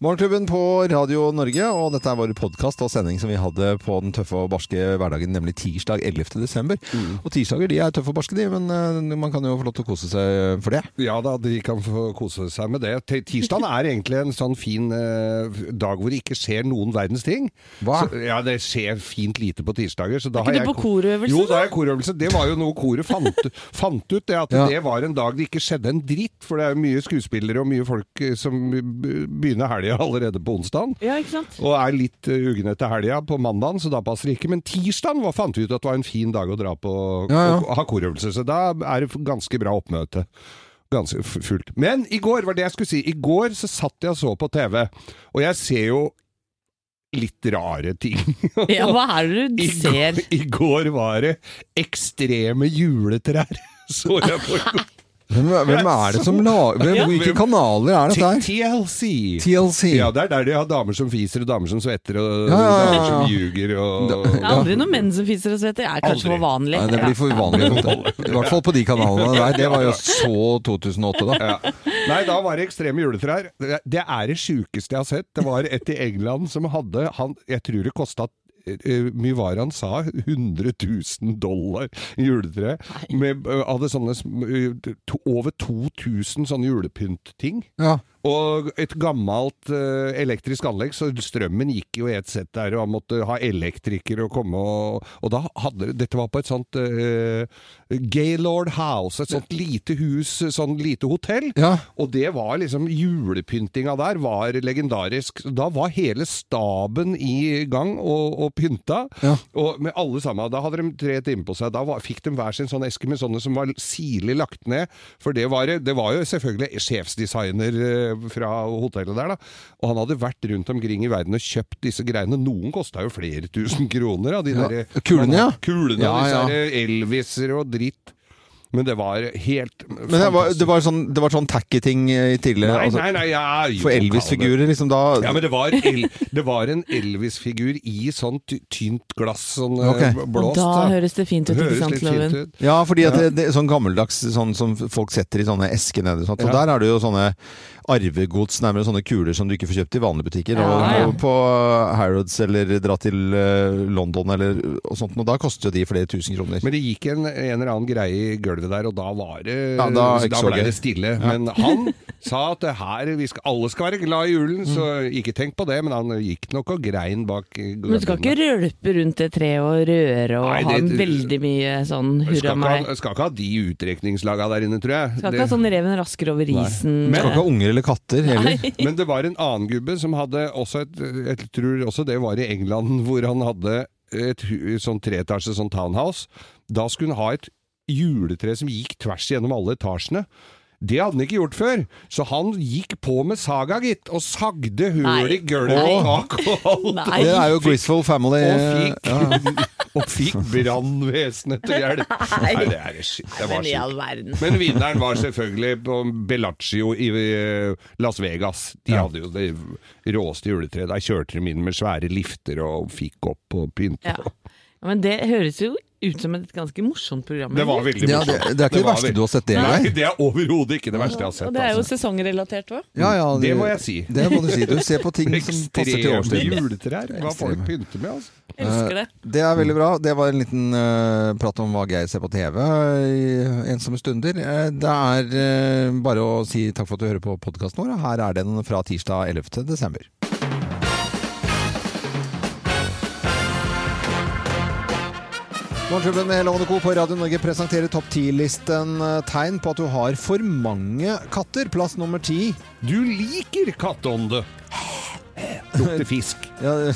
Morgenklubben på Radio Norge, og dette er vår podkast og sending som vi hadde på den tøffe og barske hverdagen, nemlig tirsdag 11. desember. Og tirsdager de er tøffe og barske, de, men eh, man kan jo få lov til å kose seg eh, for det. Ja da, de kan få kose seg med det. Ti- Tirsdagen er egentlig en sånn fin eh, dag hvor det ikke skjer noen verdens ting. Hva? Så, ja, det skjer fint lite på tirsdager. Så da ikke har du jeg på ko- korøvelse, Jo, da? da har jeg korøvelse. Det var jo noe koret fant, fant ut, det at Ja. det var en dag det ikke skjedde en dritt. For det er jo mye skuespillere og mye folk eh, som be- begynner helga allerede på onsdagen. Ja, ikke sant? Og er litt eh, ugne etter helga på mandagen, så da passer det ikke. Men tirsdagen var, fant vi ut at det var en fin dag å dra på Ja, ja. og ha korøvelse, så da er det ganske bra oppmøte. Ganske f- fullt. Men i går var det jeg skulle si. I går så satt jeg og så på TV, og jeg ser jo litt rare ting. Ja, hva er det du I går, ser? I går var det ekstreme juletrær, så jeg på i går. Hvem, hvem er det som lager hvem- Hvilke kanaler er dette her? TLC. TLC. Ja, det er der de har damer som fiser og damer som svetter og Ja, ja, ja, damer som ja. ljuger og Det er aldri noen menn som fiser og svetter. Det er kanskje Aldri. for vanlig. Nei, det blir for uvanlig. I hvert fall på de kanalene der. Det var jo så 2008, da. Ja. Nei, da var det ekstreme juletrær. Det det er det sjukeste jeg har sett. Det var et i England som hadde han, Jeg tror det kosta mye var det han sa? 100 000 dollar i juletre. Med, eh, hadde sånne sm- eh, to, over 2000 sånne julepyntting. Ja. Og et gammelt eh, elektrisk anlegg, så strømmen gikk jo i et sett der, og han måtte ha elektriker og komme og Og da hadde Dette var på et sånt eh, Gaylord House, et sånt lite hus, sånn lite hotell. Ja. Og det var liksom Julepyntinga der var legendarisk. Da var hele staben i gang og, og pynta. Ja. Og med alle sammen. Da hadde de tre timer på seg. Da var, fikk de hver sin sånn eske med sånne som var sirlig lagt ned. For det var, det var jo selvfølgelig sjefsdesigner eh, fra hotellet der, da. Og han hadde vært rundt omkring i verden og kjøpt disse greiene. Noen kosta jo flere tusen kroner av de Ja. der eh, Kulene, ja. Kulene, Ja, disse ja. her Elviser og dritt. Men det var helt Men det var, det var sånn, det var sånn tacky ting eh, tidligere. Nei, altså, nei, nei, ja, jo, For Elvis-figurer, liksom. Da Ja, men det var, el det var en Elvis-figur i sånn ty tynt glass, sånn Ok. eh, Og blåst. da da. høres det fint ut, ikke Høres sant, litt Loven? fint ut. Ja, fordi at det, det er sånn gammeldags sånn som folk setter i sånne esker nede. og Sånt. Og Ja. der er det jo sånne arvegods, nærmere sånne kuler som du ikke får kjøpt i vanlige butikker. Ja, ja. Og, og på Harrods eller dra til eh, London eller og sånt. Og da koster jo de flere tusen kroner. Men det gikk en, en eller annen greie i gulvet der, og da var det Ja, da er så det ikke så ble gøy. det stille. Men han sa at det her, vi skal, alle skal være glad i julen, så ikke tenk på det. Men han gikk nok og grein bak gulvet. Men du skal ikke rølpe rundt det treet og røre og Nei, ha det- veldig mye sånn hurra meg? ha, skal ikke ha de utrekningslaga der inne, tror jeg. Skal Det- ikke ha sånn reven rasker over isen. Du skal ikke ha unger eller katter heller. Men det var en annen gubbe som hadde også et, jeg tror også det var i England, hvor han hadde et hu- sånn treetasje, sånn townhouse. Da skulle han ha et juletre som gikk tvers gjennom alle etasjene. Det hadde han ikke gjort før, så han gikk på med saga, gitt, og sagde hull i Nei. gulvet bak og alt. Nei. Det er jo Griswold Family. Og eh, fikk, og fikk brannvesenet til hjelp. Nei, det, er, sj- det var Men i sjukt. all verden. Men vinneren var selvfølgelig på Bellagio i eh, Las Vegas. De hadde jo det råeste juletreet. Der kjørte de inn med svære lifter og fikk opp og pynta. Ja. Ja, men det høres jo ut som et ganske morsomt program. Det var eller? veldig Ja, morsomt. det, det er ikke det var verste veldig- du har sett, det? Nei, Nei. det er overhodet ikke det verste jeg har sett. Og det er jo altså. sesongrelatert òg. Ja, ja, Det må jeg si. Altså, Det må du si. Du ser på ting som passer til Ekstreme årstiden. juletrær. Hva folk pynter med, altså. Elsker det. Eh, Det er veldig bra. Det var en liten eh, prat om hva Geir ser på TV i ensomme stunder. Eh, det er eh, bare å si takk for at du hører på podkasten vår. Her er den fra tirsdag 11. desember. Morgenklubben med Lovende Co. på Radio Norge presenterer topp 10-listen eh, tegn på at du har for mange katter. Plass nummer ti. Du liker katteånde. Lukter fisk. Ja,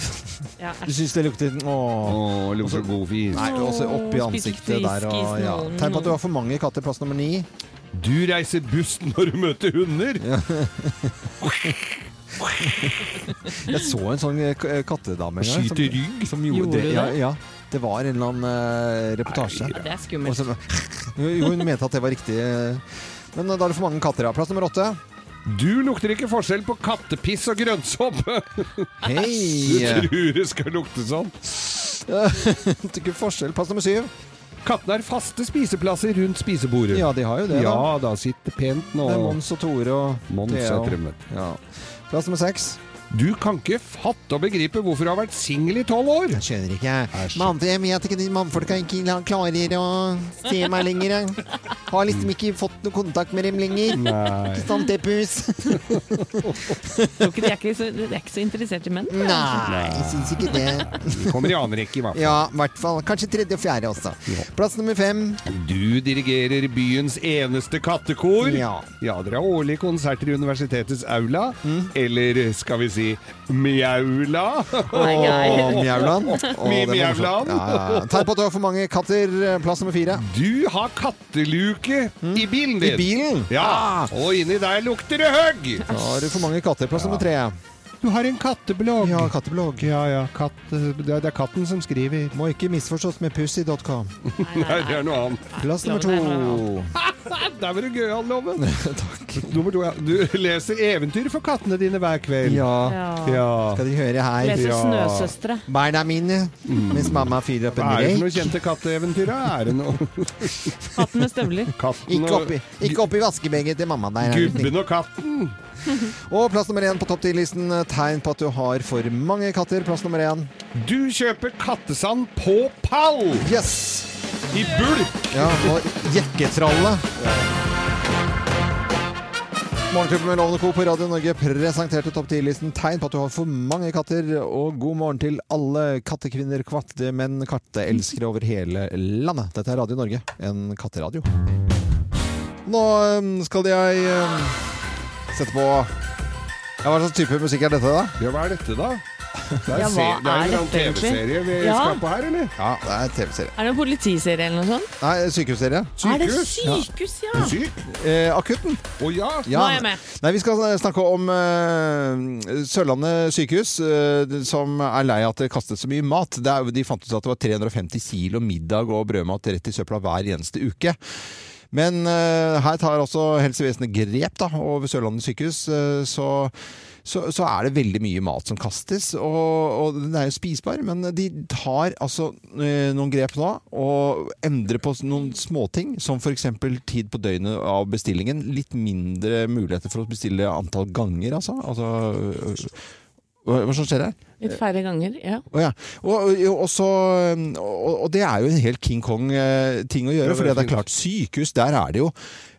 Ja, du syns det lukter Åh. Å, lukter god fisk. Nei, også oppi Åh, ansiktet spiser der og friskis ja. nå. Tegn på at du har for mange katter. Plass nummer ni. Du reiser buss når du møter hunder. Jeg så en sånn eh, k- eh, kattedame en gang. Skyter rygg. Som gjorde, Gjorde det. du Ja, det? ja. Det var en eller annen eh, reportasje. Ja, det er Og skummelt. så, jo, hun mente at det var riktig. eh. Men eh, da er det for mange katter. Ja. Plass nummer åtte. Du lukter ikke forskjell på kattepiss og grønnsåpe. Du Hei! tror det skal lukte sånn. Det er ikke forskjell. Plass nummer syv. Kattene har faste spiseplasser rundt spisebordet. Ja, de har jo det. ja Da. da, sitter pent nå. Det er Mons og Tore og Mons Thea. er trømmet. Ja. Plass nummer seks. Du kan ikke fatte og begripe hvorfor du har vært singel i tolv år! Jeg skjønner ikke. Mann, jeg vet ikke, de mannfolka ikke la- klarer å se meg lenger. jeg. Har liksom ikke fått noe kontakt med dem lenger. Ikke sant, det, pus? Tror ikke de er ikke så, de er ikke så interessert i menn. Nei, jeg syns ikke det. Du kommer i annen rekke, i hvert fall. Ja, i hvert fall. Kanskje tredje og fjerde også. Plass nummer fem. Du dirigerer byens eneste kattekor. Ja. ja dere har årlige konserter i universitetets aula. Mm. Eller skal vi si mjaula? Nei, nei. Mjauland. Mye mjauland. Ja, ja, ja. Tegn på at du har for mange katter. Plass nummer fire. Du har katteluke Mm. i Ah. bilen I din. bilen. Ja, og inni der lukter det høgg. Da har du for mange katter. Plass nummer tre. Du har en katteblogg. Ja, katteblogg. ja, ja, katt, det, er, det er katten som skriver. Må ikke misforstås med pussy.com. Nei, det er noe annet. Plass nummer Ja, men det to. er Der var du gøyal, Loven. Takk. Nummer to, ja. Du leser eventyr for kattene dine hver kveld. Ja, Ja. Ja. skal de høre her. Leser Ja. Snøsøstre. Barna mine, mens mamma fyrer opp en Hva er det for noen røyk. kjente katteeventyr? da? Er det noe Hatten med støvler. Katten Ikke og oppi, ikke oppi vaskebeget til mamma der. er det snill. Gubben og katten. Og plass nummer én på topp 10-listen. Tegn på at du har for mange katter. Plass nummer én. Du kjøper kattesand på pall! Yes! I bulk! Ja, og jekketralle. Morgenklubben med Lovende Co. på Radio Norge presenterte topp 10-listen tegn på at du har for mange katter. Og god morgen til alle kattekvinner, kattemenn, katteelskere over hele landet. Dette er Radio Norge, en katteradio. Nå øhm, skal jeg øhm, sette på ja, Hva slags type musikk er dette, da? Ja, hva er dette, da? Det Ja, hva se- det er en eller annen dette egentlig? TV-serie vi Ja. skal på her, eller? Ja, Det er TV-serie. Er det en politiserie eller noe sånt? Nei, sykehusserie. Er det Sykehus? sykehus, ja? Syk? Eh, akutten. Å ja! Ja. Nå er jeg med. Nei, Vi skal snakke om eh, Sørlandet sykehus, eh, som er lei av at det kastes så mye mat. Det er, jo- de fant ut at det var 350 kilo middag og brødmat rett i søpla hver eneste uke. Men eh, her tar altså helsevesenet grep da, over Sørlandet sykehus. eh, så så, så er det veldig mye mat som kastes, og, og den er jo spisbar. Men de tar altså eh, noen grep nå og endrer på noen småting, som f.eks. tid på døgnet av bestillingen. Litt mindre muligheter for å bestille antall ganger, altså. altså øh, hva, hva som skjer her? Litt færre ganger, ja. Å ja. og, og, og, så, og, og det er jo en helt King Kong-ting å Ja, det gjøre. er For det er fint. klart, sykehus, der er det jo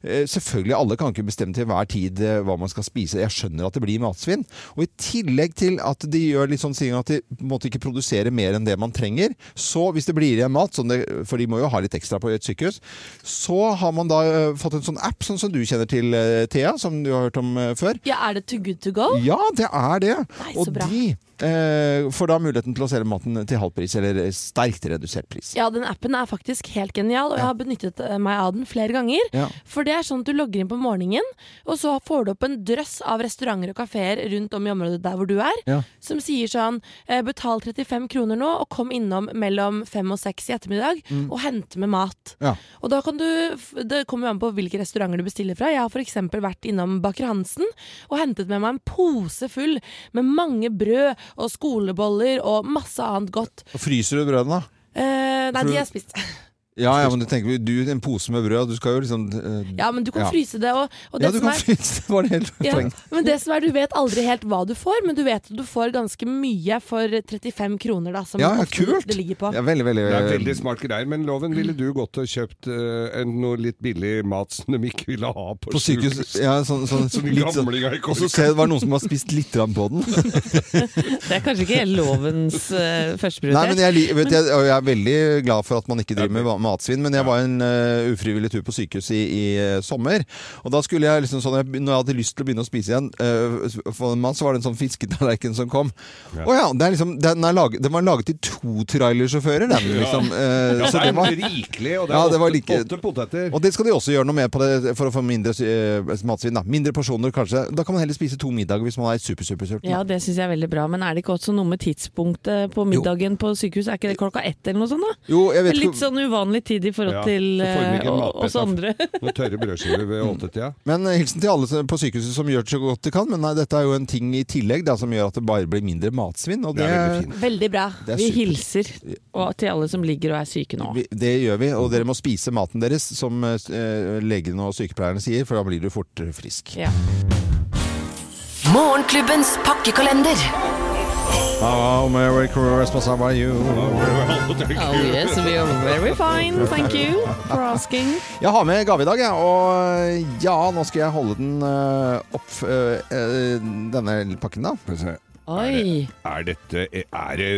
eh, Selvfølgelig, alle kan ikke bestemme til hver tid eh, hva man skal spise. Jeg skjønner at det blir matsvinn. Og i tillegg til at de gjør litt sånn ting at de på en måte ikke produserer mer enn det man trenger, så hvis det blir igjen mat, som det, for de må jo ha litt ekstra på et sykehus, så har man da eh, fått en sånn app, sånn som du kjenner til, eh, Thea, som du har hørt om eh, før. Ja, er det too good to go? Ja, det er det. Nei, så og bra. de eh, får da muligheten til å selge maten til halv pris, eller sterkt redusert pris. Ja, den appen er faktisk helt genial, og jeg har benyttet eh, meg av den flere ganger. Ja. For det er sånn at du logger inn på morgenen, og så får du opp en drøss av restauranter og kafeer rundt om i området der hvor du er, Ja. som sier sånn eh, Betal 35 kroner nå, og kom innom mellom fem og seks i ettermiddag og hente med mat. Mm. Ja. Og da kan du f- Det kommer jo an på hvilke restauranter du bestiller fra. Jeg har f.eks. vært innom Baker Hansen og hentet med meg en pose full med mange brød og skoleboller og masse annet godt. Og fryser du brødene, da? Eh, nei, Tror de du- har jeg spist. Ja, ja, men du tenker du, en pose med brød, du skal jo liksom eh, Ja, men du kan Ja. fryse det. Og, og det ja, du som kan er, fryse det, var det helt ja, poenget. men det som er, du vet aldri helt hva du får, men du vet at du får ganske mye for 35 kroner, da, som Ja, ja, ofte kult. det ligger på. Ja, veldig, veldig, eh, Det er veldig smart greier, men Loven, ville du gått og kjøpt eh, en, noe litt billig mat som de ikke ville ha på, På sykehus ja, sånn, sånn, Som de litt sånn- gamlinga i Og kork. så ser jeg det var noen som har spist litt grann på den. Det er kanskje ikke hele lovens uh, Nei, men jeg, li- vet, jeg, og jeg er veldig glad for at man ikke driver med ma- matsvinn, men jeg var en eh, ufrivillig tur på sykehus i, i eh, sommer. Og da skulle jeg liksom sånn, jeg, be- når jeg hadde lyst til å begynne å spise igjen, eh, for en mann, så var det en sånn fisketallerken som kom. Å ja, det er liksom, den, er laget, den var laget til to trailersjåfører, den liksom. eh, Ja, så det det var, er rikelig, og det er Ja, det var åtte, like- åtte poteter. og det skal de også gjøre noe med på det, for å få mindre eh, matsvinn. Da. Mindre porsjoner kanskje. Da kan man heller spise to middager hvis man er super, super sulten. Ja, det syns jeg er veldig bra, men er det ikke også noe med tidspunktet på middagen på sykehus? Er ikke det klokka ett eller noe sånt? da? Jo, jeg vet Litt ikke sånn uvanlig tid i forhold Ja, til så får vi eh, ikke en og- matbit oss av- andre. Noen tørre brødskiver ved åttetida. Men eh, hilsen til alle som- på sykehuset som gjør så godt de kan. Men nei, dette er jo en ting i tillegg da, som gjør at det bare blir mindre matsvinn. Og Det det, er veldig fint. Veldig bra. Det er Vi supert. hilser og, til alle som ligger og er syke nå. vi, det gjør vi. Og dere må spise maten deres, som eh, legene og sykepleierne sier, for da blir du fort eh, frisk. Ja. Morgenklubbens pakkekalender. Oh, Merry Christmas, how are you? Oh yes, we are very fine, thank you for asking. Jeg har med gave i dag, jeg. Og ja, nå skal jeg holde den eh, opp eh, eh, denne pakken, da. Skal vi se. Oi. Er dette er det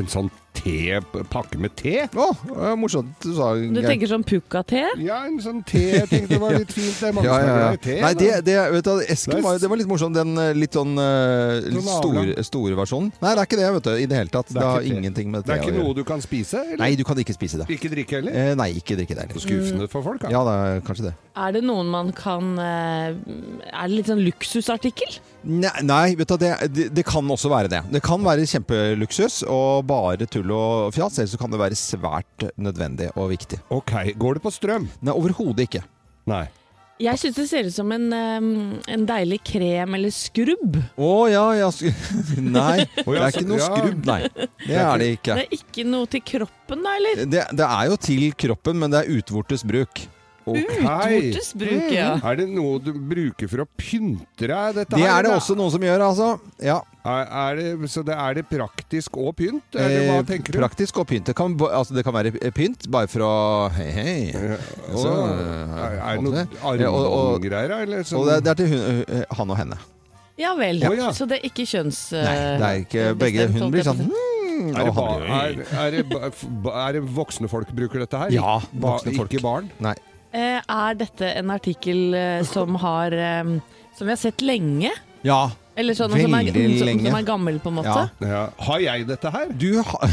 en sånn te, pakke med te? Å, eh, morsomt du sa. Du Geir. tenker sånn pukka-te? Ja, en sånn te. Jeg tenkte det var litt fint. Det er mange ja, som ja, er ja. glad i te. Nei, da. det, det, vet du, esken Det er var, det var litt morsom, den eh, litt sånn eh, litt Sånn avlang. store, store versjonen. Nei, det er ikke det, vet du. I det hele tatt. Det er Det har ikke te. ingenting med det te er å ikke noe gjøre. du kan spise? Eller? Nei, du kan ikke spise det. Ikke drikke heller? Eh, nei, ikke drikke det heller. Skuffende for folk, da. Ja, det er kanskje det. Er det noen man kan eh, Er det litt sånn luksusartikkel? Nei, nei vet du, det, det, det kan også være det. Det kan være kjempeluksus og bare tull og fjas. Eller så kan det være svært nødvendig og viktig. Ok, går det på strøm? Nei, overhodet ikke. Nei. Jeg syns det ser ut som en, eh, en deilig krem eller skrubb. Å ja, ja sk Nei, det ja, er så- ikke noe ja. skrubb, nei. Det er det ikke. Det er ikke noe til kroppen, da, eller? Det, det er jo til kroppen, men det er utvortes bruk. Ok. Utvortes bruk, ja. Mhm. Er det noe du bruker for å pynte deg? Dette Det her, er det eller? også noen som gjør, altså. Ja. Er, er det, så det er det praktisk og pynt? Eller hva Eh, tenker du? Praktisk og pynt. Det kan, bo- altså, det kan være pynt bare for å Hei, hei. eh, Og, er, er det noe Ja, Eh, og- og- armbåndgreier? eller sånn- Og det, er- det er til hun, eh, han og henne. Ja vel. Å, ja. Så det er ikke kjønns... Eh, eh, Nei, det er ikke begge. Hun blir sånn hmm, Er det, og ba, han blir, er, er, det, ba- f- ba- er det voksne folk bruker dette her? Ja, ba, voksne folk. Ikke barn? Nei. Eh, Er dette en artikkel eh, som har eh, Som vi har sett lenge? Ja. Eller sånn som er, Veldig som, lenge. som er gammel, på en måte? Ja. Ja. Har jeg dette her? Du har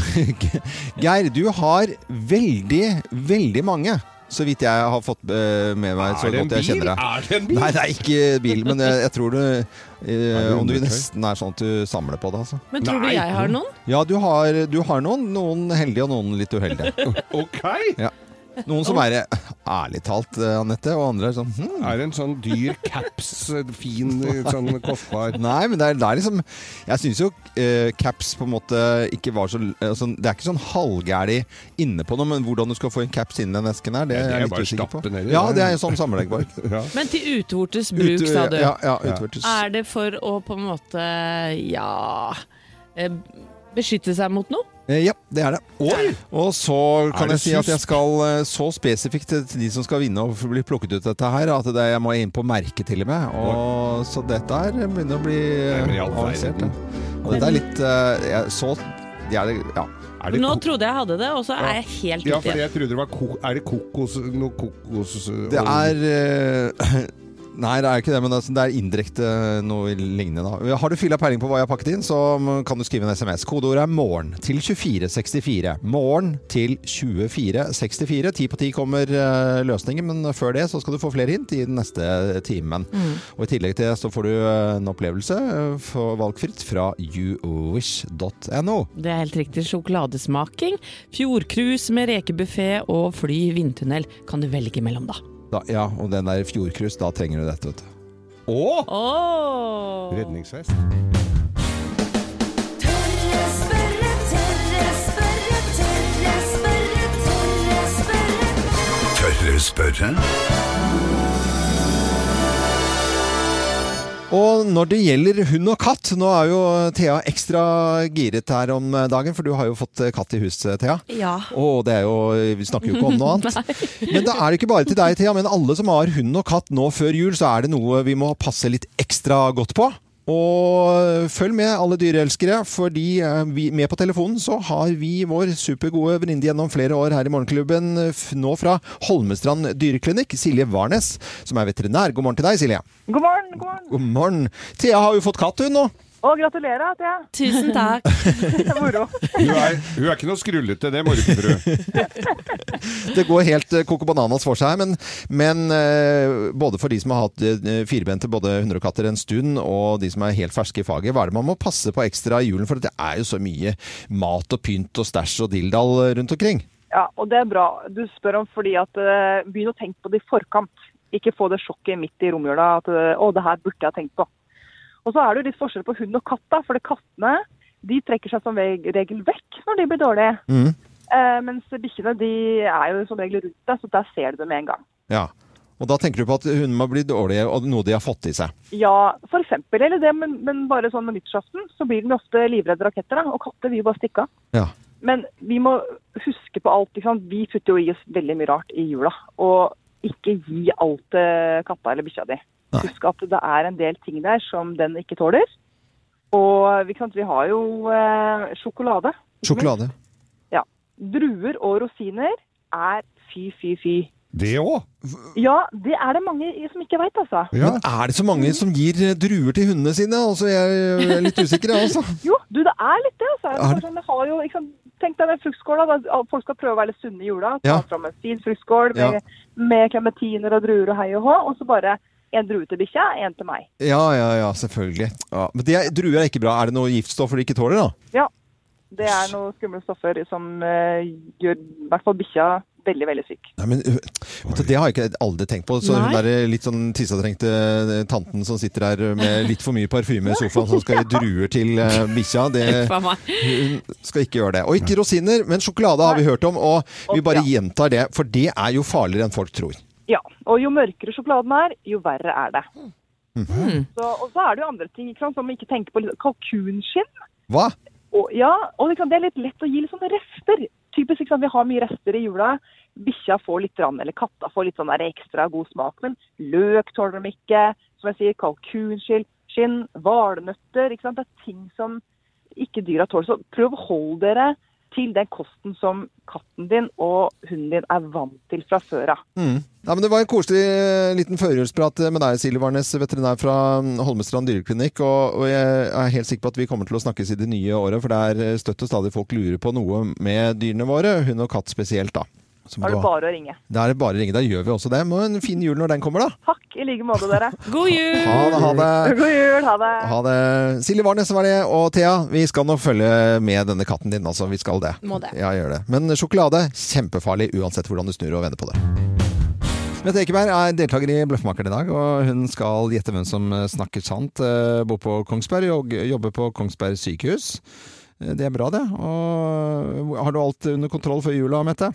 Geir, du har veldig, veldig mange. Så vidt jeg har fått eh, med meg, så er det en godt jeg bil? kjenner deg. Er det en bil? Nei, det er ikke bil, men jeg, jeg tror du eh, det Om du undertøy? nesten er sånn at du samler på det, altså. Men tror Nei. du jeg har noen? Ja, du har, du har noen. Noen heldige og noen litt uheldige. Ok! Noen som er eh, ærlig talt, eh, Anette, og andre er sånn hm, Er det en sånn dyr caps, fin, sånn kostbar Nei, men det er, det er liksom Jeg syns jo eh, caps på en måte ikke var så eh, sånn- Det er ikke sånn halvgæli inne på noe, men hvordan du skal få en caps inn i den esken her, det, Ja, det er er jeg bare litt usikker stappe på. ned i Ja, det. det er sånn sammenleggbart. ja. Men til utvortes bruk, Ut- sa du. Ja, ja, utvortes. Er det for å på en måte ja eh, beskytte seg mot noe? Eh, Ja, det er det. Oi! Og så Er kan det jeg si at susp? jeg skal eh, så spesifikt til til de som skal vinne og bli plukket ut dette her, at det, jeg må inn på merket til og med. Og, så dette her begynner å bli eh, Nei, men i all avansert. verden. ja. Og dette er litt eh, jeg, Så Ja. Det, ja. Er det Nå ko- trodde jeg hadde det, og så er jeg helt Ja, ute for igjen. jeg trodde det var ko Er det kokos Noe kokos Det er eh, Nei, det er ikke det, men det er- det er indirekte eh, noe lignende. da. Har du fylla peiling på hva jeg har pakket inn, så kan du skrive en SMS. Kodeordet er 'morgen' til 2464. Morgen til 2464. Ti på ti kommer eh, løsningen, men før det så skal du få flere hint i den neste eh, timen. Og i tillegg til det så får du eh, en opplevelse eh, for valgfritt fra youwish.no. Det er helt riktig. Sjokoladesmaking, fjordcruise med rekebuffé og fly i vindtunnel kan du velge mellom, da. Da- Ja, og den der fjordcruise, da trenger du dette, vet du. Å! Åh! Redningsvest. Tørre spørre, tørre spørre, tørre spørre, tørre spørre. Tørre spørre? Og når det gjelder hund og katt, nå er jo Thea ekstra giret her om dagen, for du har jo fått katt i huset, Thea. Ja. Og det er jo, vi snakker jo ikke om noe annet. men da er det ikke bare til deg, Thea, men alle som har hund og katt nå før jul, så er det noe vi må passe litt ekstra godt på. Og følg med, alle dyreelskere, fordi eh, vi, med på telefonen så har vi vår supergode venninne gjennom flere år her i Morgenklubben, f- nå fra Holmestrand dyreklinikk, Silje Warnes, som er veterinær. God morgen til deg, Silje. God morgen, god morgen. God morgen. Thea har jo fått katt, hun nå. Og gratulerer at jeg Tusen takk. det er moro. Hun er, hun er ikke noe skrullete, det må du ikke tro. Det går helt eh, Coco Bananas for seg. Men, men eh, både for de som har hatt eh, firbente både hunder og katter en stund, og de som er helt ferske i faget, hva er det man må passe på ekstra i julen? For det er jo så mye mat og pynt og stæsj og dilldall rundt omkring. Ja, og det er bra du spør om, fordi at eh, begynn å tenke på det i forkant. Ikke få det sjokket midt i romjula at eh, å, det her burde jeg tenkt på. Og så er det jo litt forskjell på hund og katt, da. For det kattene de trekker seg som veg- regel vekk når de blir dårlige. Mhm. Eh, mens bikkjene de er jo som regel rundt deg, så der ser du det med en gang. Ja. Og da tenker du på at hundene må bli dårlige, og noe de har fått i seg. Ja, for eksempel, eller det, men, men bare sånn med nyttårsaften, så blir den jo ofte livredde raketter, da, og katter vil jo bare stikke av. Ja. Men vi må huske på alt, ikke sant. Vi putter jo i oss veldig mye rart i jula, og ikke gi alt til katta eller bikkja di. Nei. Husk at det er en del ting der som den ikke tåler. Og ikke sant, vi har jo eh, sjokolade. ikke minst. Sjokolade. Druer og rosiner er fy, fy, fy. Det òg! Ja, det er det mange i- som ikke veit, altså. Ja. Men er det så mange som gir eh, druer til hundene sine? Altså, jeg er litt usikker, jeg altså. Jo, du, det er litt det. Altså. Det Er er det- sånn, jeg har jo, ikke sant, tenk deg den fruktskåla. da. Al- Folk skal prøve å være litt sunne i jula. Ta Ja. fram en fin fruktskål med, med klementiner og druer og hei og hå. Og så bare en drue til bikkja, en til meg. Ja, ja, ja, selvfølgelig. Ja. Men det er, druer er ikke bra. Er det noe giftstoffer de ikke tåler, da? Det er noen skumle stoffer som eh, gjør i hvert fall bikkja veldig, veldig syk. Nei, men øh, vet du, Det har jeg ikke aldri tenkt på. Så hun Nei. der eh, litt sånn tissetrengte eh, tanten som sitter der eh, med litt for mye parfyme i sofaen, som skal gi druer til eh, bikkja, det, Faen meg. hun skal ikke gjøre det. Og ikke rosiner, men sjokolade har vi hørt om, og vi bare gjentar det. For det er jo farligere enn folk tror. Ja, og jo mørkere sjokoladen er, jo verre er det. Mm-hmm. Så, og så er det jo andre ting ikke sant, som vi ikke tenker på. litt sånn Kalkunskinn. Hva? Og, ja, og liksom, det er litt lett å gi litt sånne rester. Typisk ikke sant, vi har mye rester i jula. Bikkja får litt, rann, eller katta får litt sånn der ekstra god smak. Men løk tåler de ikke. Som jeg sier, kalkunskinn, skinn, valnøtter. Ikke sant? Det er ting som ikke dyra tåler. Så prøv å holde dere til den kosten som katten din og hunden din er vant til fra før av. Mm. Ja, men det var en koselig eh, liten førjulsprat eh, med deg, Silje Varnes, veterinær fra mm, Holmestrand dyreklinikk. Og, og jeg er helt sikker på at vi kommer til å snakkes i det nye året, for det er eh, støtt og stadig folk lurer på noe med dyrene våre. Hund og katt spesielt, da. Så må Da du er det ha- bare å ringe. Da er det bare å ringe. Da gjør vi også det. Må ha en fin jul når den kommer, da. Takk i like måte, dere. God jul! Ha det, ha det. God jul. Ha det. Ha det. Silje Warnes var det, og Thea, vi skal nok følge med denne katten din, altså. Vi skal det. Må det. Ja, gjør det. Men sjokolade, kjempefarlig uansett hvordan du snur og vender på det. Mette Ekeberg er deltaker i Bløffmakeren i dag, og hun skal gjette hvem som snakker sant. eh, Bor på Kongsberg og jobber på Kongsberg sykehus. Eh, Det er bra, det. Og har du alt under kontroll før jula, Mette?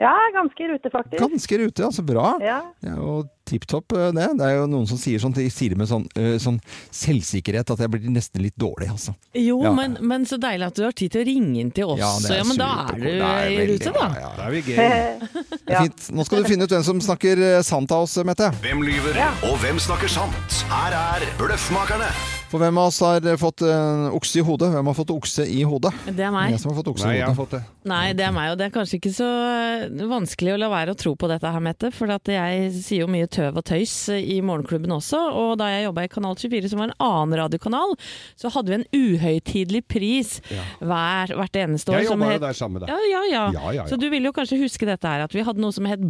Ja, ganske i rute, faktisk. Ganske i rute, altså. Bra. Ja. Det er jo tipp topp, eh, det. Det er jo noen som sier sånn, de sier det med sånn, eh, sånn selvsikkerhet at jeg blir nesten litt dårlig, altså. Jo, Ja. men, men så deilig at du har tid til å ringe inn til oss. Ja, det så, ja men da supergod. er Det er du i veldig rute, bra, da. ja. Da er vi game. Det er fint. Nå skal du finne ut hvem som snakker eh, sant av oss, Mette. Hvem lyver, og hvem snakker sant? Her er Bløffmakerne. For hvem av oss har eh, fått eh, okse i hodet? Hvem har fått okse i hodet? Det er meg. Jeg som har fått okse i Nei, jeg har hodet. fått det. Nei, det er meg, og det er kanskje ikke så eh, vanskelig å la være å tro på dette her, Mette. For at jeg sier jo mye tøv og tøys eh, i morgenklubben også. Og da jeg jobba i Kanal 24, som var en annen radiokanal, så hadde vi en uhøytidelig pris hver, hvert eneste år. Jeg som jobba het- jo der sammen med Ja deg. ja, ja, Ja, ja, ja. Så du vil jo kanskje huske dette her, at vi hadde noe som het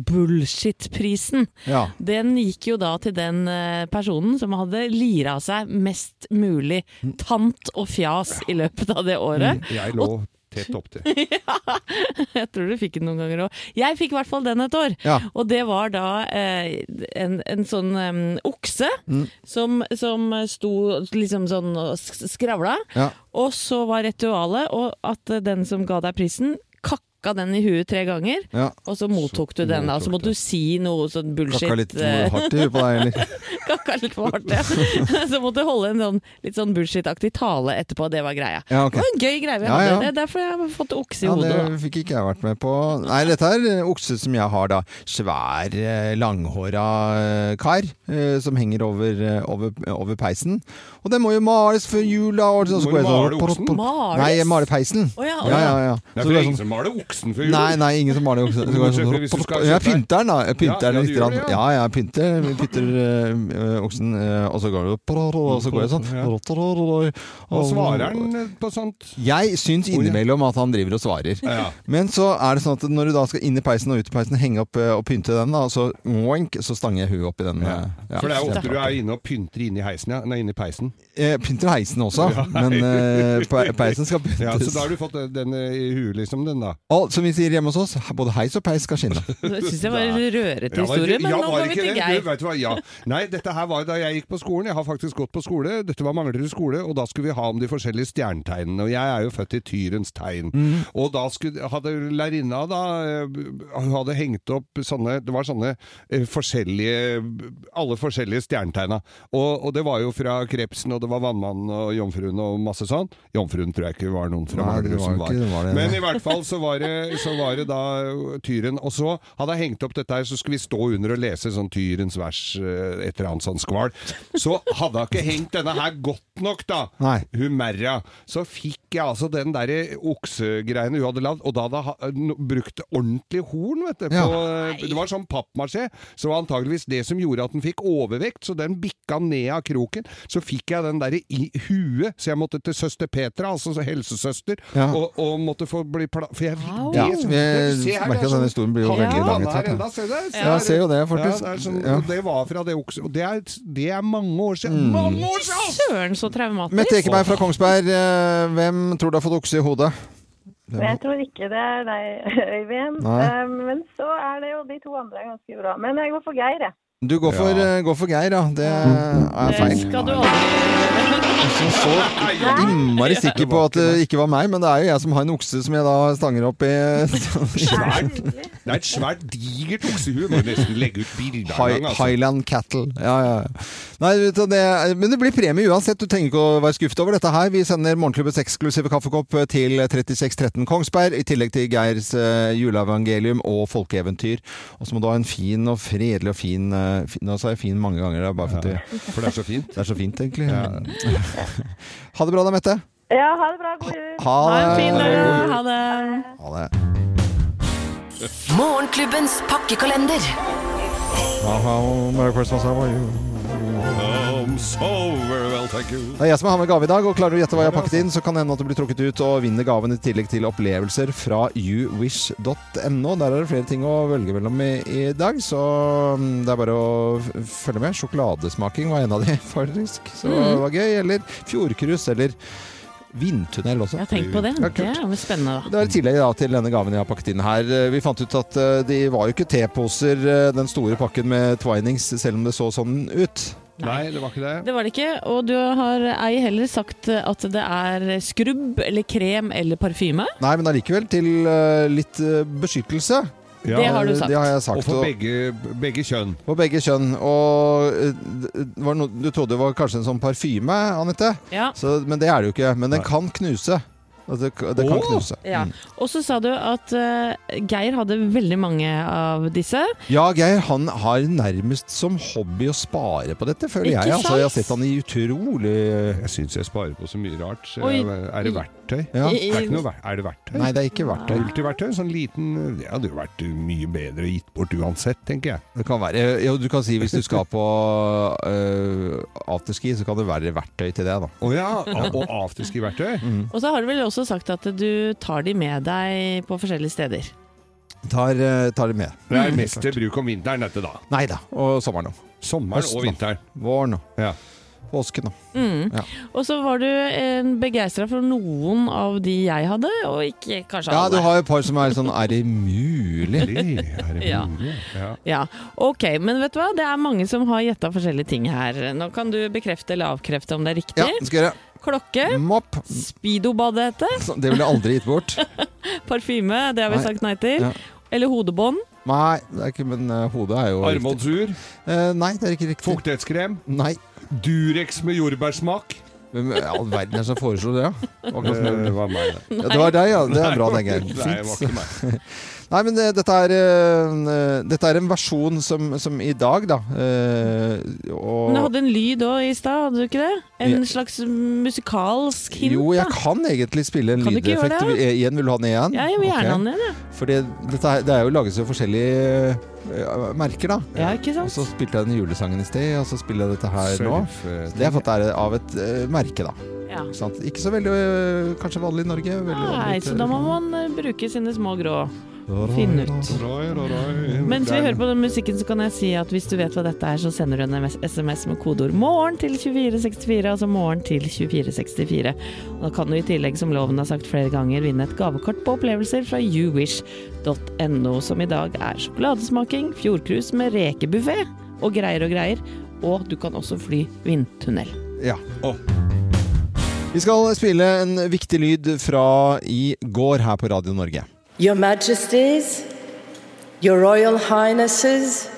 Bullshit-prisen. Ja. Den gikk jo da til den eh, personen som hadde lira av seg mest mulig tant og fjas i løpet av det Mm. året. Jeg lå tett opptil. Jeg tror du fikk den noen ganger òg. Jeg fikk i hvert fall den et år. Ja. Og det var da eh, en, en sånn em, okse Mm. som, som sto liksom sånn og sk- skravla. Ja. Og så var ritualet og at eh, den som ga deg prisen, kakka den i huet tre ganger. Ja. Og så mottok du den, da. Så måtte du si noe sånn bullshit. Kakka litt eh, hardt i huet på deg, eller? Kakka litt for hardt, ja. Så måtte jeg holde en sånn, litt sånn bullshit-aktig tale etterpå. Det var greia. Ja, ok. Det var en gøy greie vi Ja, hadde. ja. Det er derfor jeg har fått okse i Ja, hodet. det da. fikk ikke jeg vært med på. Nei, dette er eh, okse som jeg har, da. Svær, eh, langhåra eh, kar eh, som henger over, eh, over, over peisen. Og den må jo males før jula. Og så, så Må du går jeg sånn- male oksen? Males? Nei, jeg maler peisen. Å ja, å ja, ja, ja. Det Så er for det er ingen sånn- som maler oksen før jul. Nei, nei, ingen som maler okse. Du Så går jeg må sånn- sjekke hvis du skal Jeg kjøpe deg. pynter den, da. Jeg Ja, pynter ja, den du litt. gjør grann. det, Ja, ja. jeg pynter, eh, pynter øh, øh, oksen, øh, og så går det Og så går jeg Ja. sånn. Og svarer han eh, på sånt? Jeg syns innimellom at han driver og svarer. Ja. Men så er det sånn at når du da skal inn i peisen og ut i peisen, henge opp øh, og pynte den, da, og så oink, så stanger jeg huet opp i den. Ja. øh, ja. For det er jo ofte du er inne og pynter inne i heisen, ja. Nei, inne i peisen. Jeg Eh, pynter heisen også, men øh, pe- peisen skal Ja, så pyntes. da har du fått den eh, i huet, liksom, den da. Å, All, som vi sier hjemme hos oss, både heis og peis skal skinne. Det syns jeg var en rørete historie, men ja, nå var går vi ikke til det? Geir. Du, vet du hva? Ja. Nei, dette her var da jeg gikk på skolen. Jeg har faktisk gått på skole. Dette var Manglerud skole, og da skulle vi ha om de forskjellige stjernetegnene. Og jeg er jo født i Tyrens tegn. Mhm. Og da skulle, hadde lærerinna da eh, Hun hadde hengt opp sånne Det var sånne eh, forskjellige Alle forskjellige stjernetegna. Og, og det var jo fra Krepsen, og det var Vannmannen og Jomfruen og masse sånn. Jomfruen tror jeg ikke var noen fra Nei, det Manglerud var som var. ikke- det var det. Men i hvert fall så var det, så var det da øh, Tyren. Og så hadde jeg hengt opp dette her, så skulle vi stå under og lese sånn Tyrens vers, eh, et eller annet sånn skval. Så hadde jeg ikke hengt denne her godt nok, da. Nei. Hun Merja. Så fikk jeg altså den derre oksegreiene hun hadde lagd, og da hadde jeg ha- no- brukt ordentlig horn, vet du. På, det var sånn pappmasjé. Så var antageligvis det som gjorde at den fikk overvekt, så den bikka ned av kroken. Så fikk jeg den derre i huet, så jeg måtte til søster Petra, altså helsesøster, Ja. og, og måtte få bli pla... For jeg Ja, det- vi se merker at her, det er denne sånn- historien blir jo Halvannen veldig lang her etter hvert, enda, se der, se Ja, jeg der. ser jo det, faktisk. Ja, det, er sånn, Ja. Mm. og det var fra det okse... Og det er, det er mange år siden. Mange år siden! Søren, så Mette traumatisk. Ekeberg fra Kongsberg, eh, hvem tror du har fått okse i hodet? Men jeg tror ikke det er deg, Øyvind. Nei. Um, men så er det jo de to andre er ganske bra. Men jeg går for Geir, jeg. Du går for, Ja. eh, går for Geir, ja. Det er Det feil. skal du aldri Jeg er så innmari sikker på at det ikke var meg, men det er jo jeg som har en okse som jeg da stanger opp i. Svært, det er et svært digert oksehue. Må nesten legge ut bilder en Hi gang. Altså. Highland Cattle. Ja, ja. Nei, vet du, det, men det blir premie uansett. Du trenger ikke å være skuffet over dette her. Vi sender Morgenklubbens eksklusive kaffekopp til 3613 Kongsberg, i tillegg til Geirs eh, juleevangelium og folkeeventyr. Og så må du ha en fin og fredelig og fin, eh, fin Nå sa jeg fin mange ganger, det er bare fordi For det er så fint. det er så fint, egentlig. ha det bra da, Mette. Ja, ha det bra. God jul. Ha, Ha en fin dag. det. Ha det. Ha det. Morgenklubbens pakkekalender. Um, so very well, thank you. Det er jeg som har med gave i dag, og klarer du å gjette hva jeg har pakket inn, så kan det hende at du blir trukket ut og vinner gaven i tillegg til opplevelser fra youwish.no. Der er det flere ting å velge mellom i, i dag, så mm, det er bare å f- følge med. Sjokoladesmaking var en av de, faktisk. Så Mm. det var gøy. Eller fjordcruise, eller vindtunnel også. Ja, tenk på det. Ja, Det kult. er jo spennende, da. Det var i tillegg da, til denne gaven jeg har pakket inn her. Eh, Vi fant ut at eh, de var jo ikke teposer, eh, den store pakken med twinings, selv om det så sånn ut. Nei, det var ikke det. Det var det ikke, og du har ei heller sagt at det er skrubb eller krem eller parfyme. Nei, men allikevel til eh, litt eh, beskyttelse. Eh, Det har du sagt. Det har jeg sagt. Og for begge, begge kjønn. På begge kjønn. Og eh, det var no, du trodde det var kanskje en sånn parfyme, Anette, Ja. så, men det er det jo ikke. Men den Nei. kan knuse. Altså, Det, det kan Åh! knuse. Ja. Mm. Og så sa du at eh, Geir hadde veldig mange av disse. ja, Geir han har nærmest som hobby å spare på dette, føler Ikke jeg. Altså, jeg har sant? sett han i utrolig Jeg syns jeg sparer på så mye rart. så Oi. jeg- Er det verktøy? ja. I- Det er, ikke noe, ver- er det verktøy? Nei, det er ikke verktøy. Multiverktøy? Sånn liten Det hadde jo vært mye bedre gitt bort uansett, tenker jeg. Det kan være, ja, du kan si hvis du skal på eh, afterski, så kan det være verktøy til det. da. Å ja! Mm. a- Og afterski-verktøy? Og så har du vel også sagt at du tar de med deg på forskjellige steder. Tar, eh, tar det med. Det er mest til bruk om vinteren, dette da. Nei da. Og sommeren òg. Sommeren Høsten, og vinteren. Våren og Ja. påsken og Mm. Ja. Og så var du eh, begeistra for noen av de jeg hadde, og ikke kanskje Ja, alle. du har jo et par som er sånn Er det mulig? Det er det Ja. mulig. Ja. Ja, ok, men vet du hva? Det er mange som har gjetta forskjellige ting her. Nå kan du bekrefte eller avkrefte om det er Ja, Mm. riktig. det skal jeg gjøre. Klokke. Mopp. Speedo-badehette. Så Det ville jeg aldri gitt bort. Parfyme, det har vi Nei. sagt nei til. Ja. Eller hodebånd. Nei, det er ikke, men eh, hodet er jo riktig. Armbåndsur. Eh, nei, det er ikke riktig. Fuktighetskrem. Nei. Durex med jordbærsmak. Hvem i all verden er det som foreslår det, ja? Det var meg, det. ja? Det var deg, ja. Det er bra, den gangen. Nei, det var Fint. ikke meg. Nei, men eh, dette er, eh, dette er en versjon som, som i dag, da. eh, og Men det hadde en lyd òg i stad, hadde du ikke det? En Ja. slags musikalsk hint. Jo, jeg da. kan egentlig spille en Kan du ikke gjøre lydeffekt. det? Vil- eh, Igjen, vil du ha den igjen? Ja, jeg vil Ok. gjerne ha den igjen, jeg. For det, dette her- det er jo lages jo forskjellige eh, merker, da. Ja, ikke Og sant? så spilte jeg den julesangen i sted, og så spiller jeg dette her nå. Surfe- Det har jeg fått ære av et eh, merke, da. Ja. Ikke, sant? ikke så veldig eh, kanskje vanlig i Norge. Veldig Nei, vanlig til- så da må man eh, bruke sine små grå finne ut. Roi, roi, roi. Mens vi Der- hører på den musikken, så kan jeg si at hvis du vet hva dette er, så sender du en MS SMS med kodeord 'morgen' til 2464, altså 'morgen' til 2464. Og da kan du i tillegg, som loven har sagt flere ganger, vinne et gavekort på opplevelser fra youwish.no, som i dag er sjokoladesmaking, fjordcruise med rekebuffé og greier og greier. Og du kan også fly vindtunnel. Ja. Vi skal spille en viktig lyd fra i går her på Radio Norge. Your Majesties, Your Royal Highnesses,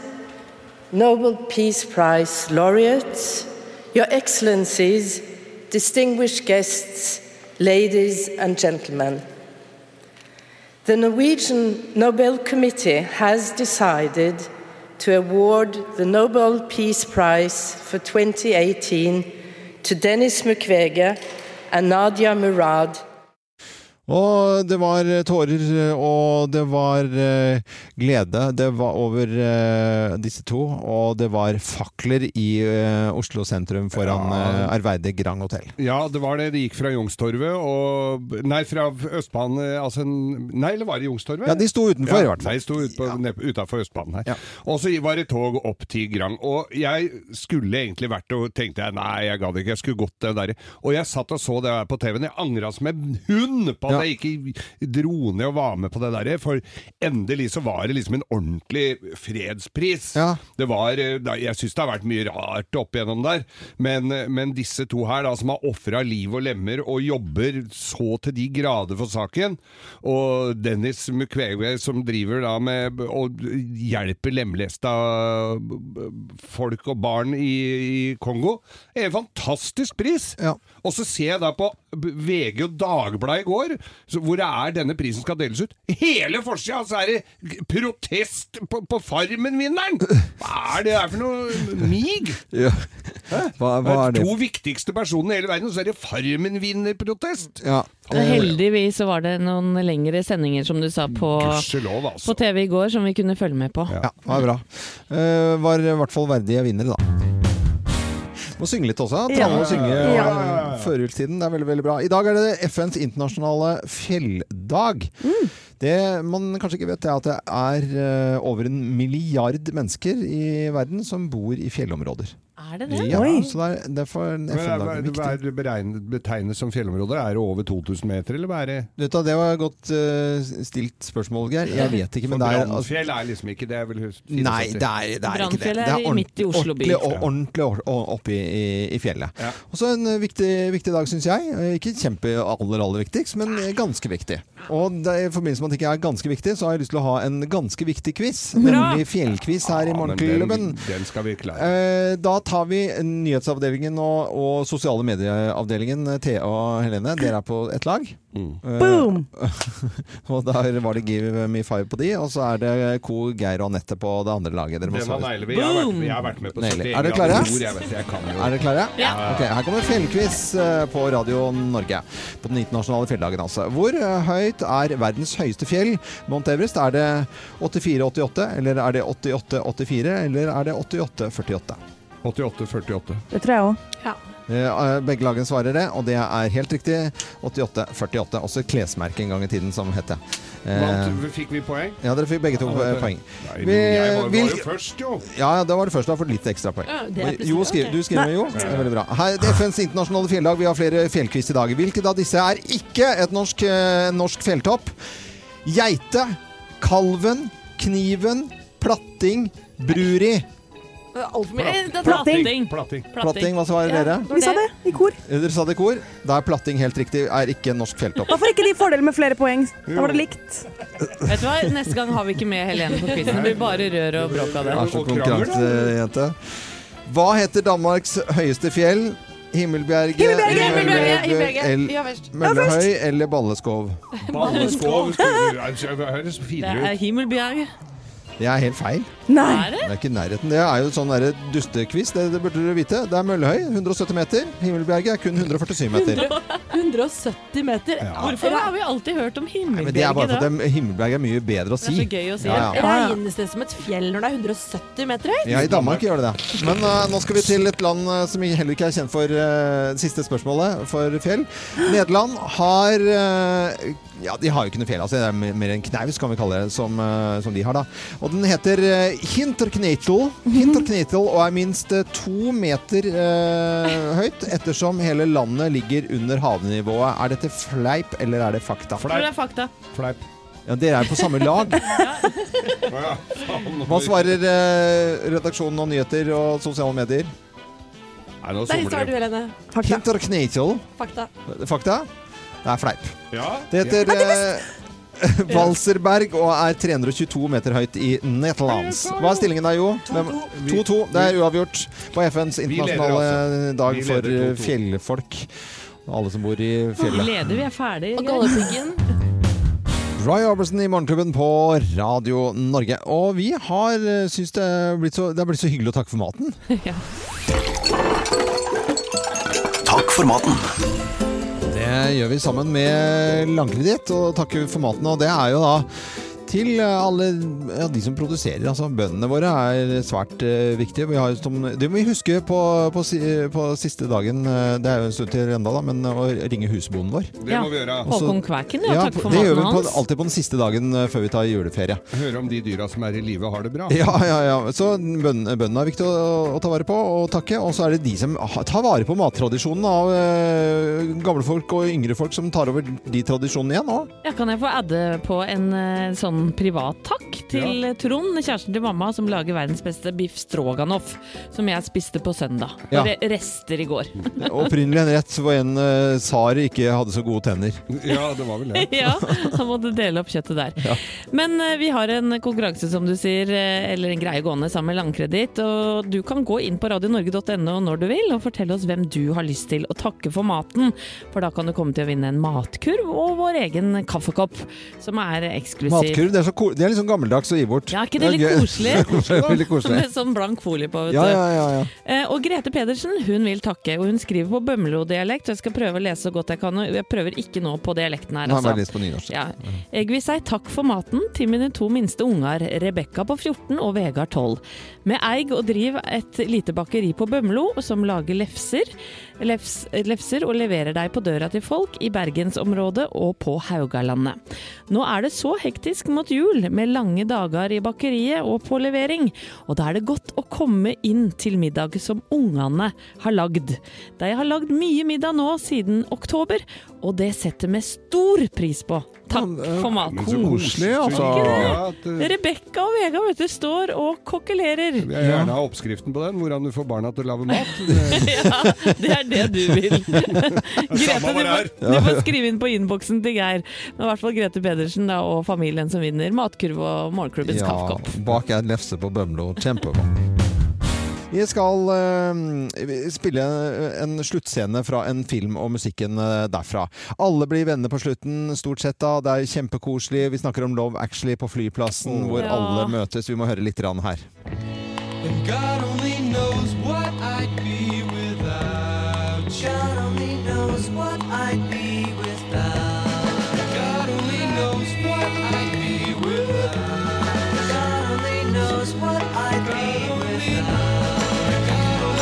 Nobel Peace Prize laureates, Your Excellencies, distinguished guests, ladies and gentlemen. The Norwegian Nobel Committee has decided to award the Nobel Peace Prize for 2018 to Dennis Mukwege and Nadia Murad. Og det var eh, tårer, og det var eh, glede det var over eh, disse to. Og det var fakler i eh, Oslo sentrum foran eh, Arveide Grand Hotel. Ja, det var det. Det gikk fra Youngstorget og Nei, fra Østbanen eh, altså, en- Nei, eller var det Youngstorget? Ja, de sto utenfor, i hvert fall. Nei, de sto ut på, ned- utenfor Østbanen her. Og så var det tog opp til Grand. Og jeg skulle egentlig vært og tenkte jeg, nei, jeg gadd ikke, jeg skulle gått det derre. Og jeg satt og så det her på TV-en. Jeg angra som en hund på at jeg ikke dro ned og var med på det derre. For endelig så var det liksom en ordentlig fredspris. Det var, eh, da- jeg syns det har vært mye rart opp igjennom der, men, eh, men disse to her da, som har ofra liv og lemmer og jobber så til de grader for saken, og Dennis Mukwege som driver da med og hjelper lemlesta folk og barn i, i Kongo, er en fantastisk pris! Og så ser jeg da på VG og Dagbladet i går, så- hvor det er denne prisen skal deles ut. Hele forsida, så er det g- protest på, på Farmen-vinneren! Hva er det der for noe mig? Ja. Hva, hva er det? To viktigste personene i hele verden, og så er det Farmen-vinner-protest! Ja. Og heldigvis så var det noen lengre sendinger, som du sa, på, Gudskjelov, altså. på TV i går, som vi kunne følge med på. Ja, det var bra. Eh, var i hvert fall verdige vinnere, da. Må synge litt også. Ja. Trane og synge Ja, ja, ja, eh, førjulstiden. Det er veldig veldig bra. I dag er det FNs internasjonale fjelldag. Mm. Det man kanskje ikke vet, er at det er eh, over en milliard mennesker i verden som bor i fjellområder. Er det det? Ja, så det er derfor en Men er- FN-dag Hva er er viktig. hva er det beregnet- betegnet som fjellområder? Er det over 2000 meter, eller hva er det? Du vet da, Det var et godt eh, stilt spørsmål, Geir. Jeg vet ikke, men For det er altså- Brannfjell er liksom ikke det. er vel hus- Nei, det er, det er ikke det. Brannfjellet Det er i- midt i Oslo by. ordentlig, og- ordentlig or- og oppe i, i, i fjellet. Ja. Og så en eh, viktig, viktig dag, syns jeg. Eh, Ikke kjempe aller, aller viktigst, men eh, ganske viktig. Og det, er i forbindelse med at det ikke er ganske viktig, så har jeg lyst til å ha en ganske viktig quiz. Nemlig fjellquiz her i Ja, men Morgenklubben. den, den skal vi klare. Eh, Da tar vi nyhetsavdelingen og, og sosiale medieavdelingen, eh, Thea og Helene. Dere er på ett lag. Eh, Boom! og der var det Give Me Five på de, og så er det Co, Geir og Anette på det andre laget. Dere må Den var svare. neilig. Jeg, har vært- jeg har vært med på Neilig. 71 Er dere klare? grader nord, Jeg vet, jeg kan jo. Er dere klare? Ja. Ok, her kommer fjellquiz eh, på Radio Norge. På den internasjonale fjelldagen, altså. Hvor eh, høyt er verdens høyeste fjell? Mount Everest, er det 84-88, eller er det 88-84, eller er det 88-48? 88-48. Det tror jeg òg. Eh, Begge lagene svarer det, og det er helt riktig. 88-48. Også et klesmerke en gang i tiden som het det. Eh, Vant, fikk vi poeng? Ja, dere fikk begge to Ja, eh, det- poeng. Nei, Vi- men jeg var, var hvil- jo først, jo! Ja, ja, det var det første. Da får du litt ekstrapoeng. Ja, det er plutselig Jo, skriv, ok. du skriver med Jo. Det er veldig bra. Her, det er FNs internasjonale fjelldag. Vi har flere fjellquiz i dag. Hvilket av disse er ikke et norsk, eh, norsk fjelltopp? Geite, Kalven, Kniven, Platting, Bruri. Altfor mye. Eh, det er Platting. Platting. Platting. Platting, hva svarer dere? Eh, Vi sa det i kor. Dere sa det i kor. Da er Platting helt riktig. Er ikke en norsk fjelltopp. Hvorfor ikke de fordelen med flere poeng? Da var det likt. Vet du hva, Neste gang har vi ikke med Helene på quizen. Det blir bare rør og bråk av det. Vær så konkurransejente. Hva heter Danmarks høyeste fjell? Himmelbjerget, Himmelbjerget, Himmelbjerget, Møllehø- Himmelbjerget. El- Vi var først. Møllehøy eller Balleskov? Balleskov skulle- Det høres Det finere er ut. Himmelbjerg. Det er helt feil. Er det? Det er ikke i nærheten. Det er jo sånn derre dustequiz, det, det burde dere vite. Det er Møllehøy, 170 meter. Himmelbjerget er kun 147 meter. 170 meter. Ja. Hvorfor har vi alltid hørt om Nei, himmelbjelke? men det er bare da? fordi Himmelberg er mye bedre å Det er si. så gøy å si. Ja, ja. Regnes det som et fjell når det er 170 meter høyt? Ja, I Danmark gjør det det. Men eh, nå skal vi til et land eh, som heller ikke er kjent for eh, siste spørsmålet, for fjell. Nederland har eh, Ja, de har jo ikke noe fjell, altså. Det er mer- mer en knaus, kan vi kalle det, som, eh, som de har, da. Og den heter eh, Hinterknetel. Hinterknetel og er minst eh, to meter eh, høyt, ettersom hele landet ligger under havnivået. Er dette fleip, eller er det fakta? Jeg tror det er fakta. Fleip. Ja, dere er på samme lag. Hva svarer eh, redaksjonen og nyheter og sosiale medier? Nei, nå Der svarer du, Helene. Hinterknetel. Fakta. Fakta? Det er fleip. Ja. Det heter eh, Walserberg og er 322 meter høyt i Nederland. Hva er stillingen da, Jo? Hvem- 2-2. Det er uavgjort på FNs Vi leder, internasjonale altså. dag Vi for leder eh, 2-2. fjellfolk. Alle som bor i fjellet. Leder, vi er ferdig. Og Galdhøpiggen. Roy Orbison i Morgenklubben på Radio Norge. Og vi har eh, syns det er blitt så, det er blitt så hyggelig å takke for maten. Takk for maten. Det gjør vi sammen med Langkreditt og takker for maten. Og det er jo da til alle ja, de som produserer. altså Bøndene vare er svært eh, viktige. Vi har, som, det må vi huske på, på, si- på siste dagen, eh, det er jo en stund til enda, da, men å ringe husbonden vår. Det må vi gjøre. Også- Håkon Kvæken, ja. Ja, Takk for det gjør maten vi på, hans. alltid på den siste dagen eh, før vi tar juleferie. Høre om de dyra som er i live, har det bra. Ja, ja, ja. Så bøndene, bøndene er viktig å, å ta vare på og takke. Og så er det de som ha- tar vare på mattradisjonen av eh, gamle folk og yngre folk som tar over de tradisjonene igjen nå. Ja, kan jeg få adde på en eh, sånn privat takk til Trond, kjæresten til mamma, som lager verdens beste biff stroganoff, som jeg spiste på søndag. Ja. Bare rester i går. Opprinnelig en rett hvor en uh, tsar ikke hadde så gode tenner. Ja, det var vel det. ja, han måtte dele opp kjøttet der. Men eh, vi har en konkurranse, som du sier, eh, eller en greie gående sammen med Landkreditt. Og du kan gå inn på radionorge.no når du vil, og fortelle oss hvem du har lyst til å takke for maten. For da kan du komme til å vinne en matkurv og vår egen kaffekopp, som er eksklusiv. Matkurv, det er, så ko det er litt sånn gammeldags og ivort. Ja, er ikke det litt gøy. koselig? Det er Veldig koselig. Med sånn blank folie på, vet Ja, du. ja, ja, ja. Eh, Og Grete Pedersen hun vil takke, og hun skriver på Bømlo-dialekt. og Jeg skal prøve å lese så godt jeg kan, og jeg prøver ikke nå på dialekten Nå har her. jeg Altså. bare lest på nynorsk. Ja. Jeg vil si takk for maten til mine to minste unger, Rebekka på 14 og Vegard 12. Vi eier og driver et lite bakeri på Bømlo som lager lefser, lefs, lefser og leverer deg på døra til folk i bergensområdet og på Haugalandet. Nå er det så hektisk mot jul med lange dager i bakeriet og på levering, og da er det godt å komme inn til middag som ungene har lagd. De har lagd mye middag nå siden oktober, og det setter vi stor pris på. Takk for Men maten. så Koselig, altså. Ja, at, eh, Rebekka og Vega vet du, står og kokkelerer. jeg vil gjerne ha oppskriften på den, hvordan du får barna til å lage mat. Det- Ja, det er det du vil. Grete, Samme du hvor det må, er. du må skrive inn på innboksen til Geir. Men i hvert fall Grete Pedersen da, og familien som vinner matkurv og morgenklubbens Ja, kaffekopp. bak er en lefse på Bømlo. Kjempebra. Vi skal eh, spille en sluttscene fra en film og musikken eh, derfra. Alle blir venner på slutten, stort sett. da. Det er kjempekoselig. Vi snakker om Love Actually på flyplassen, hvor Oh, Ja. alle møtes. Vi må høre litt grann her. And God only knows what I'd be without. God only knows what I'd be without. God only knows what I'd be without. God only knows what I'd be without. God only knows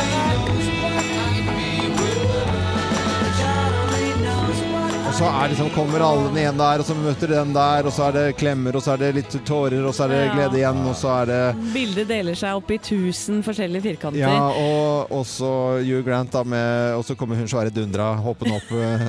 what I'd be without. God only knows what Og så er liksom, kommer alle den ene der, og så møter den der, og så er det klemmer, og så er det litt tårer, og så er det Ja. glede igjen, og så er det Bildet deler seg opp i tusen forskjellige firkanter. ja, og og så Hugh Grant, da, med Og så kommer hun svære dundra hoppende opp. eh,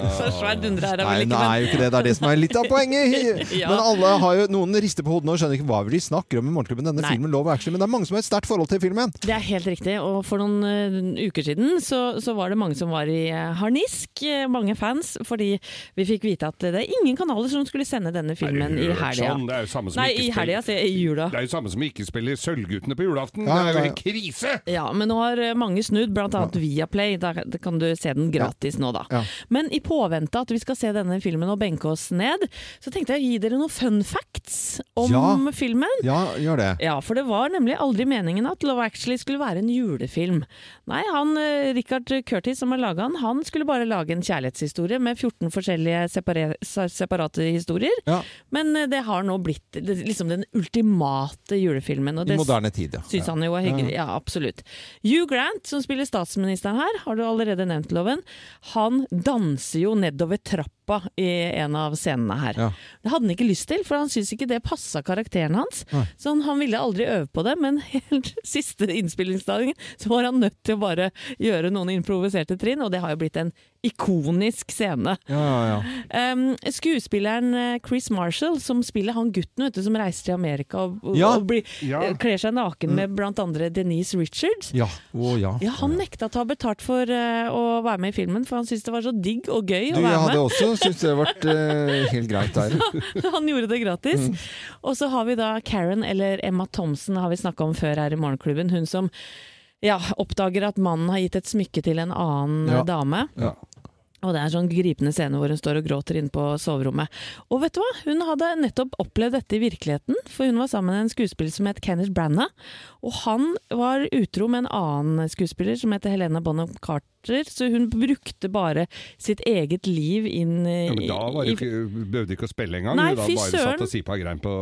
Så svært dundre er det Nei, vel det ikke, er jo ikke det. Det er det som er litt av poenget. Ja. Men alle har jo, noen rister på hodet nå og skjønner ikke hva de snakker om i Morgenklubben. Denne Nei. filmen Love Actually, men det er mange som har et sterkt forhold til filmen. Det er helt riktig, og for noen eh, uker siden så, så var det mange som var i eh, harnisk, eh, mange fans, fordi vi fikk vite at det er ingen kanaler som skulle sende denne filmen i helga. Sånn, det er jo samme som Nei, ikke i spiller- helga, sier jeg. I jula. Det er jo samme som ikke spiller Sølvguttene på julaften. Ja, det er ja, jo ja. helt krise! Ja, men nå har eh, mange snudd, blant annet Viaplay. Der der kan du se den gratis nå, da. Men i påvente at vi skal se denne filmen og benke oss ned, så tenkte jeg å gi dere noen fun facts om Ja. filmen. Ja, gjør det. Ja, for det var nemlig aldri meningen at Love Actually skulle være en julefilm. Nei, han eh, Richard Curtis som har laga den, han skulle bare lage en kjærlighetshistorie med 14 forskjellige separe- sa- separate historier. Men eh, det har nå blitt det, liksom den ultimate julefilmen. og I det s- moderne tid, ja. Mm. Syns han jo er hyggelig. Ja, absolutt. Hugh Grant, som spiller statsministeren her, har du allerede nevnt, Loven. Han danser jo nedover trappa i en av scenene her. Det hadde han ikke lyst til, for han syntes ikke det passa karakteren hans. Nei. Så han, han ville aldri øve på det, men helt siste innspillingsdagen så var han nødt til å bare gjøre noen improviserte trinn, og det har jo blitt en ikonisk scene. Ja, ja, ja. Um, skuespilleren eh, Chris Marshall, som spiller han gutten vet du, som reiser til Amerika og, og, Ja. og blir, Ja. Mm. eh, kler seg naken med blant andre Denise Richards. Ja, å ja. Ja, Han nekta å ta betalt for eh, å være med i filmen, for han syntes det var så digg og gøy Du, å jeg være hadde med. også syntes det vært eh, helt greit der. han gjorde det gratis. Mm. Og så har vi da Karen, eller Emma Thompson, har vi snakka om før her i Morgenklubben. Hun som ja, oppdager at mannen har gitt et smykke til en annen Ja. eh, dame. Ja. Og det er en sånn gripende scene hvor hun står og gråter inne på soverommet. Og vet du hva, hun hadde nettopp opplevd dette i virkeligheten, for hun var sammen med en skuespiller som het Kenneth Branagh, og han var utro med en annen skuespiller som heter Helena Bonham Carter, så hun brukte bare sitt eget liv inn eh, Ja, men da var det jo i- ikke, behøvde du ikke å spille engang. Nei, da fy bare søren. satt og sipa grein på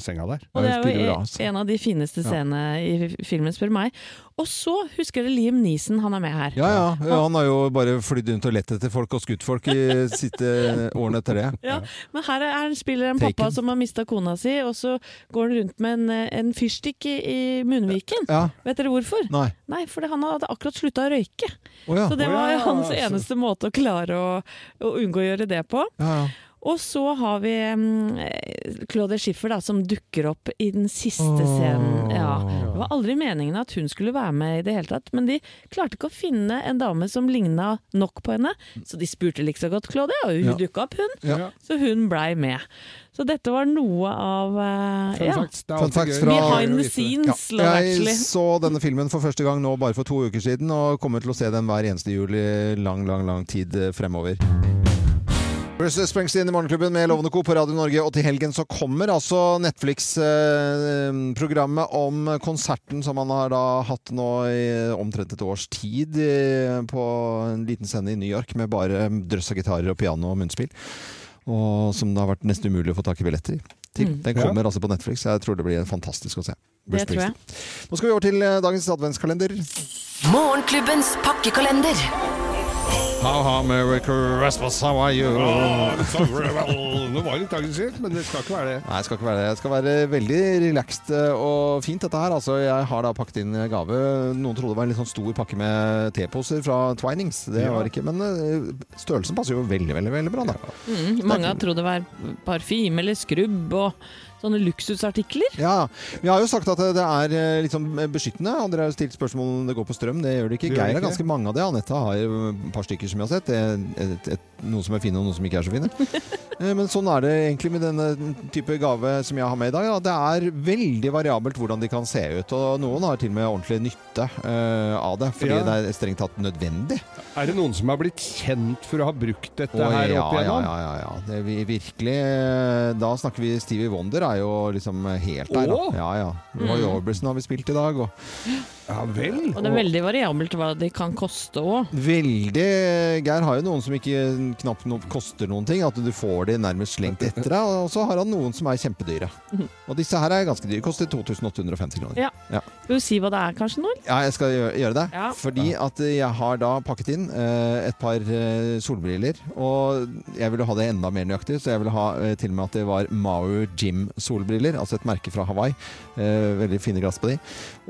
senga der. Og det er jo altså. e- en av de fineste scenene i filmen, spør meg. Og så husker dere Liam Neeson, han er med her. Ja, ja. Han har jo bare flydd rundt og lett etter folk og skutt folk i siste årene etter det. Ja, men her er, her spiller en Taken. pappa som har mista kona si, og så går han rundt med en, en fyrstikk i, i munnviken. Ja. Vet dere hvorfor? Nei. Nei, for det- han hadde akkurat slutta å røyke. Å ja. Så Å det var ja, altså. hans så- eneste måte å klare å, å unngå å gjøre det på. Ja, ja. Og så har vi mm, Claude Schiffer da, som dukker opp i den siste scenen. Ja. Det var aldri meningen at hun skulle være med i det hele tatt, men de klarte ikke å finne en dame som ligna nok på henne, så de spurte like så godt Claude, og hun Ja. dukka opp, hun. Ja. Så hun blei med. Så dette var noe av eh, Fun ja. facts, det er Fun facts fra Behind the scenes, Ja. love Jeg actually. så denne filmen for første gang nå bare for to uker siden, og kommer til å se den hver eneste jul i lang, lang, lang tid eh, fremover. Bruce Springsteen i Morgenklubben med Lovende Co. på Radio Norge. Og til helgen så kommer altså Netflix-programmet om konserten som han har da hatt nå i omtrent et års tid eh, på en liten scene i New York med bare drøss av gitarer og piano og munnspill. Og som det har vært nesten umulig å få tak i billetter til. Mm. Den kommer altså på Netflix. Jeg tror det blir fantastisk å se. Bruce Det tror jeg. Springsteen. Nå skal vi over til eh, dagens adventskalender. Morgenklubbens pakkekalender. How, how, Merry Christmas, how are you? Nå var det litt aggressivt, men det skal ikke være det. Nei, det skal ikke være det. Det skal være veldig relaxed eh, og fint, dette her. Altså, jeg har da pakket inn gave. Noen trodde det var en litt sånn stor pakke med teposer fra Twinings. Det Ja. var det ikke, men eh, størrelsen passer jo veldig, veldig veldig bra, da. Mm, mange har trodd det var parfyme eller skrubb og sånne luksusartikler. Ja, Vi har jo sagt at det er eh, litt sånn beskyttende. Andre har jo stilt spørsmål om det går på strøm. Det gjør det ikke. Det gjør Geir det har ikke. ganske mange av det. Anette har jo et par stykker som jeg har sett. Det er et, et, noen som er fine, og noen som ikke er så fine. Eh, Men sånn er det egentlig med denne type gave som jeg har med i dag. Da. Det er veldig variabelt hvordan de kan se ut. Og noen har til og med ordentlig nytte eh, av det, fordi Ja. det er strengt tatt nødvendig. Er det noen som har blitt kjent for å ha brukt dette Å, her opp ja, igjennom? Ja, ja, ja. Det er vi virkelig eh, Da snakker vi Stevie Wonder er jo liksom helt der. Da. Å! Ja, ja. Roy Mm. Orbison har vi spilt i dag. Og, ja vel. Og det er veldig variabelt hva de kan koste òg. Veldig Geir har jo noen som ikke knapt no koster noen ting. At du får de nærmest slengt etter deg. Og så har han noen som er kjempedyre. Mm. Og disse her er ganske dyre. Koster 2850 kroner. Ja. Ja. Skal vi si hva det er, kanskje, nå? eller? Ja, jeg skal gjø- gjøre det. Ja. Fordi at eh, jeg har da pakket inn eh, et par eh, solbriller. Og jeg ville ha det enda mer nøyaktig, så jeg ville ha eh, til og med at det var Mau Jim-solbriller. Altså et merke fra Hawaii. Eh, veldig fine glass på de.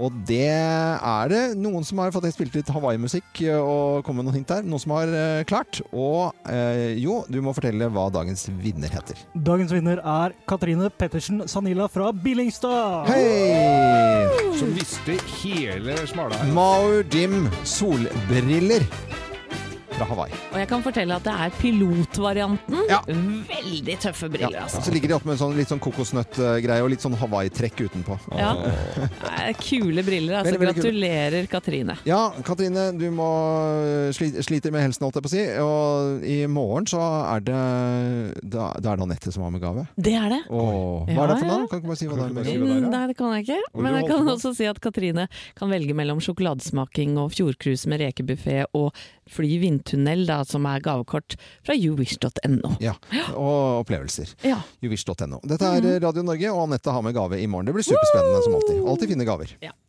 Og det er det noen som har fått spilt litt Hawaii-musikk eh, og kommet med noen hint der. Noen som har eh, klart. Og eh, jo, du må fortelle hva dagens vinner heter. Dagens vinner er Katrine Pettersen Sanila fra Billingstad. Hei! Som visste hele smala her. Mau Jim solbriller. fra Hawaii. Og jeg kan fortelle at det er pilotvarianten. Ja. Veldig tøffe briller, Ja. altså. Så ligger de oppe med en sånn, litt sånn kokosnøttgreie og litt sånn Hawaii-trekk utenpå. Ja. Nei, Kule briller, altså. Veldig, veldig kule. Gratulerer, Katrine. Ja, Katrine, du må øh, sli, sliter med helsen, holdt jeg på å si. Og i morgen så er det Da, da er det Anette som har med gave. Det er det. Åh, hva Ja, er det for ja. noe? Kan du ikke bare si hva det er? med? Mm, Nei, det kan jeg ikke. Hvor du Men jeg holdt kan på? også si at Katrine kan velge mellom sjokoladesmaking og fjordcruise med rekebuffé og fly i vindtunnel, da, som er gavekort fra youwish.no. Ja, og opplevelser. Ja. Mm. Juvish.no. Dette er Radio Norge, og Anette har med gave i morgen. Det blir superspennende som alltid. Alltid fine gaver.